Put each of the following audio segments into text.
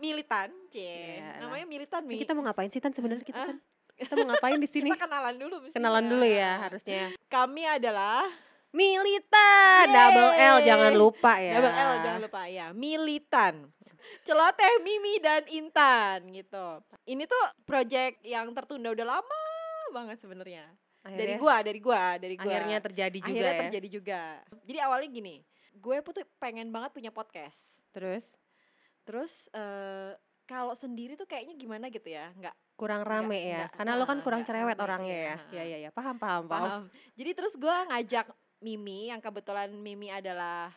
militan, Cie. Yalah. Namanya militan Mi. Iya, Eh, Kita mau ngapain sih Tan sebenarnya kita Ah. Tan? Kita mau ngapain di sini? Kita kenalan dulu mestinya. Kenalan dulu ya harusnya. Kami adalah Militan double L Yeay. jangan lupa ya. double L jangan lupa ya, militan. Celoteh Mimi dan Intan gitu. Ini tuh project yang tertunda udah lama banget sebenarnya. Akhirnya, Dari gua, dari gua, dari gua. Ya, akhirnya terjadi juga Akhirnya ya. terjadi juga. Jadi awalnya gini, gue pun tuh pengen banget punya podcast. Terus Terus eh kalau sendiri tuh kayaknya gimana gitu ya, nggak kurang rame Nggak- ya. nggak- Karena lo kan ah, kurang nggak cerewet rame, orangnya iya, ya. ah, Iya iya iya, paham paham paham. paham. Jadi terus gue ngajak Mimi yang kebetulan Mimi adalah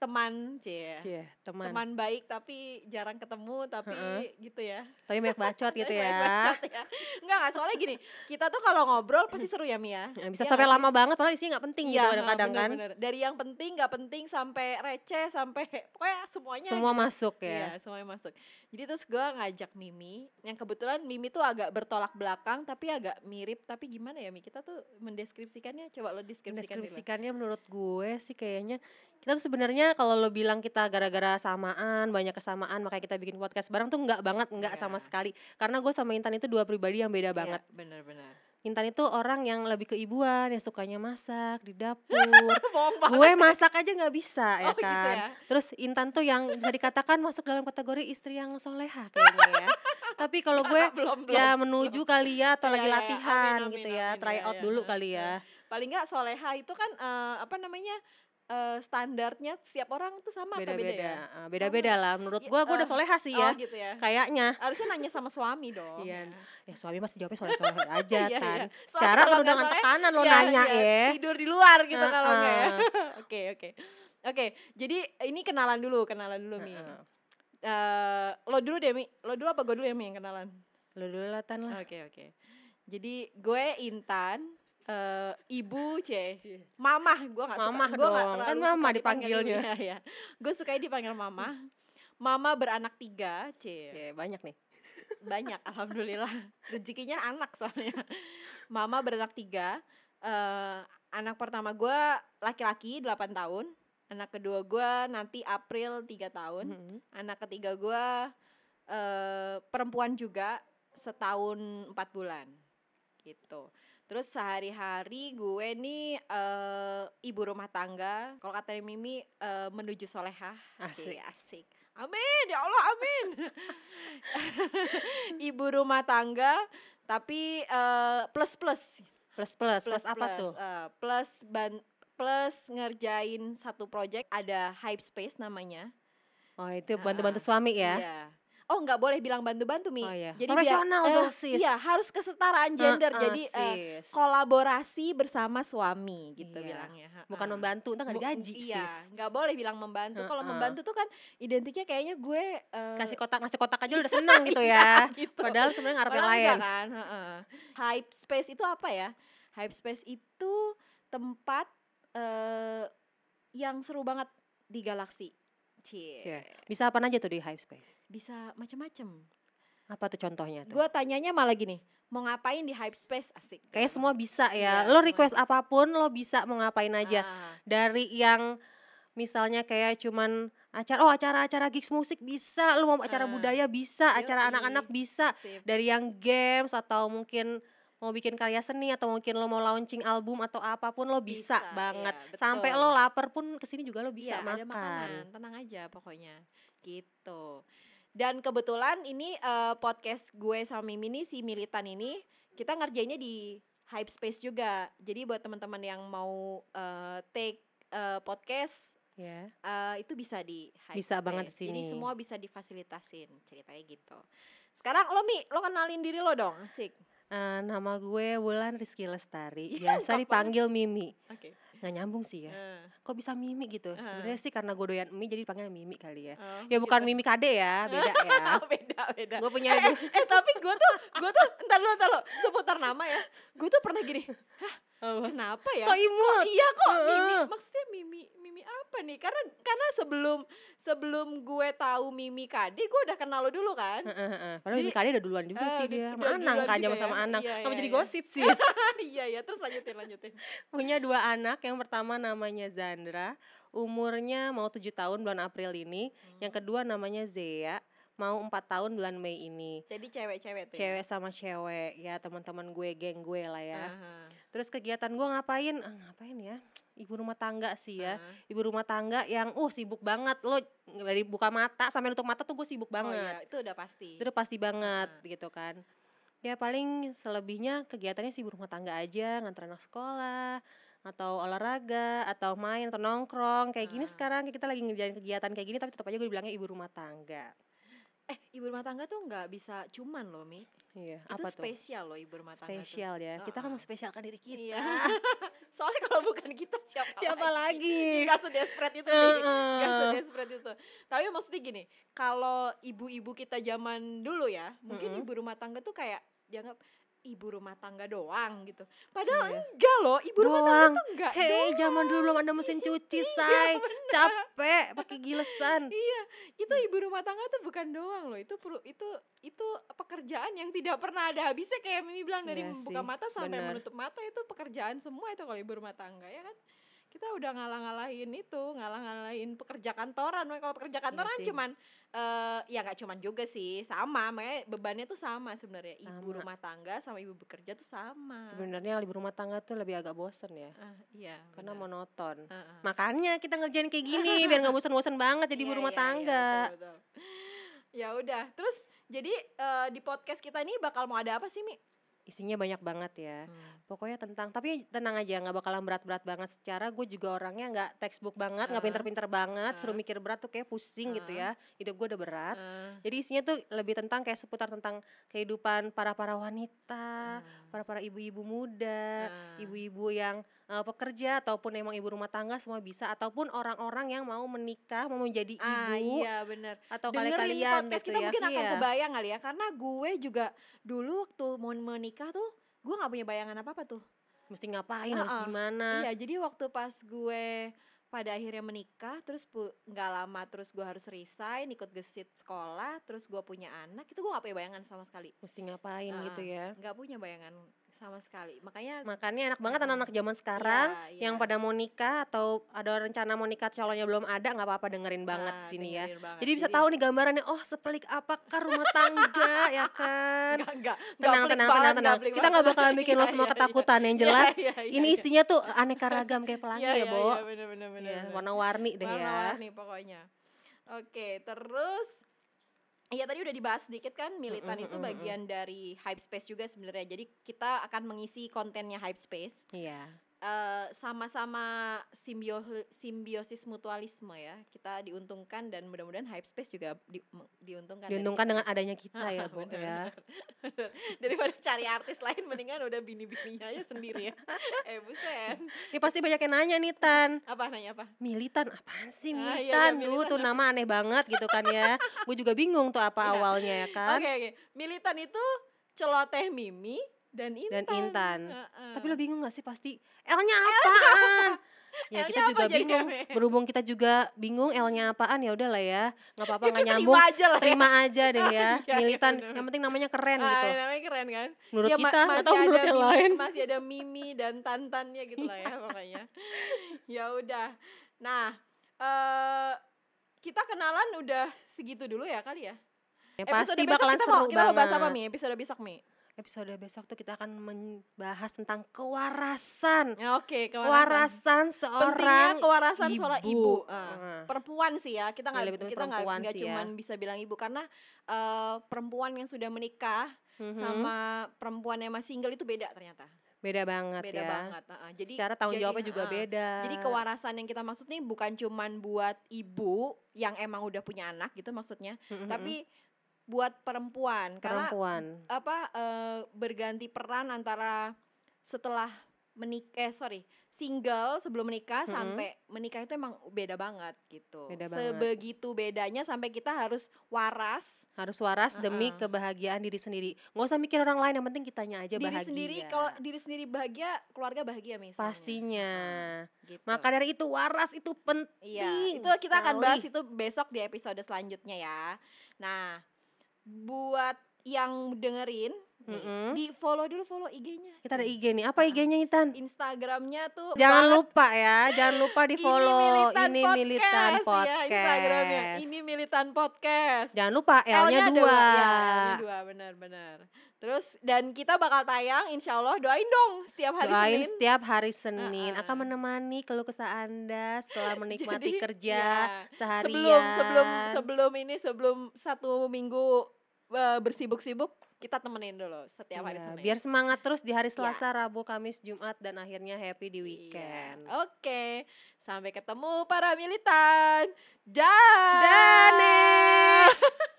teman, cie. Cie, ya. teman. Teman baik tapi jarang ketemu tapi Heeh. gitu ya. Tapi banyak bacot gitu Tapi ya. baik bacot ya. Enggak, enggak soalnya gini, kita tuh kalau ngobrol pasti seru ya Mi ya. Bisa Iya sampai nggak sih? lama banget padahal isinya nggak penting gitu Iya, kadang-kadang kan. bener-bener. Dari yang penting, nggak penting sampai receh sampai pokoknya semuanya Semua masuk Iya, ya. semuanya masuk. Jadi terus gue ngajak Mimi, yang kebetulan Mimi tuh agak bertolak belakang, tapi agak mirip. Tapi gimana ya, Mi? Kita tuh mendeskripsikannya, coba lo deskripsikan dulu. Deskripsikannya menurut gue sih kayaknya kita tuh sebenarnya kalau lo bilang kita gara-gara samaan banyak kesamaan makanya kita bikin podcast bareng tuh nggak banget nggak sama Iya. sekali karena gue sama Intan itu dua pribadi yang Iya, beda banget Bener-bener. Intan itu orang yang lebih keibuan yang sukanya masak di dapur Bohong banget. gue masak aja nggak bisa ya Oh, gitu kan ya. terus Intan tuh yang bisa dikatakan masuk dalam kategori istri yang soleha kayaknya ya tapi kalau gue belum belum. ya menuju kali ya atau Iya, iya, lagi iya. latihan Amin, gitu amin, ya amin. try Iya, out iya. dulu kali ya Paling nggak soleha itu kan eh, apa namanya eh, standarnya setiap orang tuh sama atau beda beda-beda ya? ah, beda-beda lah menurut Ya, gua gua udah eh, soleha sih Oh ya gitu ya. kayaknya Harusnya nanya sama suami dong. Iya. ya suami masih jawabnya soleh soleh aja Iya, tan iya. Soalnya secara kalau penuh nggak dengan soleh, tekanan lo Iya, nanya iya, ya Tidur di luar gitu kalau nggak ya. Heeh. Oke, oke. Oke, jadi ini kenalan dulu, kenalan dulu Mi. Heeh. Eh, lo dulu deh Mi, lo dulu apa gue dulu ya Mi yang kenalan? lo dulu lah tan lah Oke oke. Jadi gue Intan, eh ibu C, mamah gue nggak suka. Mamah gue nggak dong, kan terlalu mama suka dipanggil ibu, dipanggilnya. Ya, ya. Gue suka dipanggil mamah. Mama beranak tiga, C. ya banyak nih Banyak, alhamdulillah. Rezekinya anak soalnya. Mama beranak tiga. Eh anak pertama gue laki-laki 8 tahun. Anak kedua gue nanti April 3 tahun. Heeh. Anak ketiga gue eh, perempuan juga setahun empat bulan gitu. Terus sehari-hari gue nih eh, ibu rumah tangga. Kalau katanya Mimi eh, menuju solehah. asik Cie, asik. Amin ya Allah amin. ibu rumah tangga tapi eh, plus plus plus plus plus apa tuh eh, plus ban plus ngerjain satu project ada hype space namanya. oh itu bantu bantu suami Ah. ya Iya. Oh nggak boleh bilang bantu-bantu Mi. Oh, iya. Jadi Profesional biar, dong, eh, sis. Iya harus kesetaraan gender. Heeh, jadi eh, sis. kolaborasi bersama suami gitu Iya. bilangnya. Ha-ha. bukan membantu ntar nggak Bu- digaji Iya sis nggak boleh bilang membantu. Kalau Heeh. membantu tuh kan identiknya kayaknya gue eh, kasih kotak ngasih kotak aja lo udah seneng gitu ya gitu. padahal sebenarnya ngarep yang Padahal lain enggak kan, heeh. Hype space itu apa ya? Hype space itu tempat eh, yang seru banget di galaksi. Cie. Cie. Iya. bisa apa aja tuh di hype space Bisa macam-macam. apa tuh contohnya tuh Gue tanyanya malah gini, mau ngapain di hype space asik? Kayak semua bisa ya. Iya, lo semua request bisa. apapun lo bisa mau ngapain aja. Ah, Dari yang misalnya kayak cuman acara oh acara-acara gigs musik bisa, lo mau acara Ah, budaya bisa, acara yoi. anak-anak bisa. sip. Dari yang games atau mungkin mau bikin karya seni atau mungkin lo mau launching album atau apapun lo bisa, Bisa, banget. iya, Sampai betul. lo lapar pun kesini juga lo Iya, bisa ada makan. makanan, tenang aja pokoknya. Gitu. Dan kebetulan ini eh, podcast gue sama Mimi nih si Militan ini kita ngerjainnya di Hype Space juga. Jadi buat teman-teman yang mau eh, take eh, podcast Ya. eh, itu bisa di Hype Bisa banget Space. Jadi di sini. semua bisa difasilitasin ceritanya gitu. Sekarang lo Mi, lo kenalin diri lo dong, asik. Eh, nama gue Wulan Rizky Lestari. Iya, Biasa lengkap dipanggil Mimi. Oke. Nggak nyambung sih ya. Kok bisa Mimi gitu? Ah. Sebenarnya sih karena gue doyan mie jadi dipanggil Mimi kali ya. Oh, Ya bukan gitu. Mimi Kade ya, beda ya. Oh, beda beda. gue punya Eh, eh, ibu. eh, tapi gue tuh gue tuh entar dulu entar dulu seputar nama ya. Gue tuh pernah gini, kenapa ya? So imut. iya kok Mimi, Heeh. maksudnya Mimi Mimi apa nih? Karena karena sebelum sebelum gue tahu Mimi Kade, gue udah kenal lo dulu kan? Heeh, heeh. Padahal Jadi- Mimi Kade udah duluan juga Eh, sih udah- dia. udah Sama Anang duluan kan juga sama ya. sama Anang. Iya, Kenapa iya, jadi iya. gosip sis? iya iya, terus lanjutin lanjutin. punya dua anak. Yang pertama namanya Hmm. Zandra, umurnya mau tujuh tahun bulan April ini. Yang kedua namanya Zea, mau empat tahun bulan Mei ini. Jadi cewek-cewek tuh. Cewek sama cewek ya teman-teman gue, geng gue lah ya. ya. Aha, Terus kegiatan gue ngapain? Ah, ngapain ya? Ibu rumah tangga sih ya. aha. Ibu rumah tangga yang uh sibuk banget lo dari buka mata sampai nutup mata tuh gue sibuk Oh banget. iya, Nah. itu udah pasti. Itu udah pasti banget gitu kan. Ya paling selebihnya kegiatannya sih ibu rumah tangga aja, nganter anak sekolah atau olahraga atau main atau nongkrong kayak gini Ah. sekarang kayak kita lagi ngerjain kegiatan kayak gini tapi tetap aja gue bilangnya ibu rumah tangga. Eh, ibu rumah tangga tuh nggak bisa cuman loh, Mi. Iya, Itu apa tuh? spesial loh ibu rumah tangga tuh. Spesial ya. Kita kan Ah. menspesialkan diri Iya. kita. Soalnya kalau bukan kita siapa? Siapa lagi? Eh, lagi? Gak sedesperate itu, Mi. Gak sedesperate itu. Tapi maksudnya gini, kalau ibu-ibu kita zaman dulu ya, mungkin Mm-mm. ibu rumah tangga tuh kayak dianggap ibu rumah tangga doang gitu. Padahal Iya. enggak loh, ibu rumah tangga Doang. tuh enggak. Hei, doang. zaman dulu belum ada mesin cuci, say. Capek pakai gilesan. Iya, itu Hmm. ibu rumah tangga tuh bukan doang loh. Itu perlu itu itu pekerjaan yang tidak pernah ada habisnya kayak Mimi bilang dari Iya membuka sih, mata sampai benar. menutup mata itu pekerjaan semua itu kalau ibu rumah tangga ya kan. Kita udah ngalah-ngalahin itu, ngalah-ngalahin pekerja kantoran. Makanya Kalau pekerja kantoran Iya sih. cuman eh ya nggak cuman juga sih, sama. Makanya bebannya tuh sama sebenarnya. Ibu Sama. rumah tangga sama ibu bekerja tuh sama. Sebenarnya ibu rumah tangga tuh lebih agak bosen ya, Ah, iya. karena benar. monoton. Ah, ah. Makanya kita ngerjain kayak gini biar nggak bosan-bosan banget jadi Iya, ibu rumah iya, iya, tangga. betul, betul. Ya udah, terus jadi eh, di podcast kita ini bakal mau ada apa sih Mi? Isinya banyak banget ya. Pokoknya tentang tapi tenang aja nggak bakalan berat-berat banget secara gue juga orangnya nggak textbook banget, nggak Ah. pinter-pinter banget, suruh Ah. mikir berat tuh kayak pusing gitu Ah. ya. Hidup gue udah berat. Eh, Jadi isinya tuh lebih tentang kayak seputar tentang kehidupan para-para wanita, para-para ibu-ibu muda, eh, ibu-ibu yang eh, pekerja ataupun emang ibu rumah tangga semua bisa ataupun orang-orang yang mau menikah mau menjadi ah, ibu iya benar. atau Dengerin kalian podcast kita gitu ya mungkin akan Iya. kebayang kali ya karena gue juga dulu waktu mau menikah tuh gue nggak punya bayangan apa apa tuh. mesti ngapain harus Uh-uh. gimana Iya, jadi waktu pas gue pada akhirnya menikah terus pu- nggak lama terus gue harus resign ikut gesit sekolah terus gue punya anak itu gue gak punya bayangan sama sekali mesti ngapain Ah, gitu ya nggak punya bayangan sama sekali makanya makanya enak banget Mm-mm. anak-anak zaman sekarang Iya, yang iya. pada mau nikah atau ada rencana mau nikah calonnya belum ada nggak apa-apa dengerin banget Ah, sini ya dengerin banget. jadi bisa tahu nih gambarannya oh sepelik apakah rumah tangga ya kan enggak enggak tenang tenang tenang tenang kita nggak bakalan Iya, bikin lo semua ketakutan yang jelas ini isinya tuh aneka ragam kayak pelangi ya, Bo. Iya, bener bener bener. Iya, bener. warna-warni deh ya. Warna-warni pokoknya. Oke, terus Iya tadi udah dibahas sedikit kan militan Mm, mm, itu mm, mm, mm. bagian dari hype space juga sebenarnya. Jadi kita akan mengisi kontennya hype space Iya. Eh, sama-sama simbio simbiosis mutualisme ya. Kita diuntungkan dan mudah-mudahan hype space juga di- diuntungkan. dari Diuntungkan kita. dengan adanya kita ya, Bo Bener, ya. daripada cari artis lain mendingan udah bini-bininya aja sendiri ya eh buset Ini pasti banyak yang nanya nih Tan. apa nanya apa Militan apaan sih Ah, iya, militan? iya, Duh, militan tuh nama aneh banget gitu kan ya. Gue juga bingung tuh apa Iya. awalnya ya oke kan. oke militan itu celoteh mimi dan intan Ah. Dan Intan. Heeh. Tapi lo bingung gak sih pasti L-nya apaan? L-nya ya kita apa juga jadi bingung. kami? Berhubung kita juga bingung L-nya apaan ya udahlah ya. nggak apa-apa Ya, nggak kita terima nyambung. aja lah ya. Terima aja deh Ah, ya. iya, iya, Militan bener. yang penting namanya keren Ah, gitu. namanya keren kan Menurut Ya, ma- kita masih atau menurut ada yang mimi, lain. Iya. masih ada mimi dan tantannya gitu lah ya pokoknya ya udah nah eh kita kenalan udah segitu dulu ya kali ya. Ya, Episode pasti besok bakalan kita seru mau, kita banget. mau bahas apa Mi? Episode besok Mi? Episode besok tuh kita akan membahas tentang kewarasan. Ya, Oke, kewarasan. Kewarasan pentingnya seorang kewarasan seorang ibu Ah. Ah. perempuan sih ya kita Ya, nggak lebih tepatnya kita nggak perempuan nggak sih ya. cuman bisa bilang ibu karena eh, perempuan yang sudah menikah Mhm. sama perempuan yang masih single itu beda ternyata beda banget beda ya. banget ah, ah. jadi Secara tanggung jadi, jawabnya juga ah, beda. jadi kewarasan yang kita maksud nih bukan cuman buat ibu yang emang udah punya anak gitu maksudnya Mhm. tapi buat perempuan karena perempuan. apa eh, berganti peran antara setelah menikah eh sorry single sebelum menikah Mm-mm. sampai menikah itu emang beda banget gitu Beda banget. sebegitu bedanya sampai kita harus waras harus waras demi Uh-uh. kebahagiaan diri sendiri. Nggak usah mikir orang lain, yang penting kitanya aja diri bahagia. sendiri kalau diri sendiri bahagia keluarga bahagia misalnya pastinya. gitu. Maka dari itu waras itu penting. Iya, itu kita akan sekali. bahas itu besok di episode selanjutnya ya. Nah, buat yang dengerin Nih, Mm-mm. Di follow dulu follow IG-nya. Kita ada IG nih. Ah, Apa IG-nya Intan? Instagramnya tuh Bal- Jangan lupa ya, jangan lupa di follow Militan ini militan ya, podcast. Instagramnya. Ini militan podcast. Jangan lupa L-nya L-nya dua. Ya, L-nya dua, benar-benar. Terus dan kita bakal tayang insya Allah doain dong setiap hari Doain Senin. setiap hari Senin Ah, ah. akan menemani keluh kesah Anda setelah menikmati Jadi, kerja ya. seharian. Sebelum sebelum sebelum ini sebelum satu minggu eh, bersibuk-sibuk kita temenin dulu setiap hari Iya, Senin. biar semangat terus di Ya. hari Selasa, Rabu, Kamis, Jumat dan akhirnya happy di Iya. weekend. Oke, sampai ketemu para militan. Dan Dadah.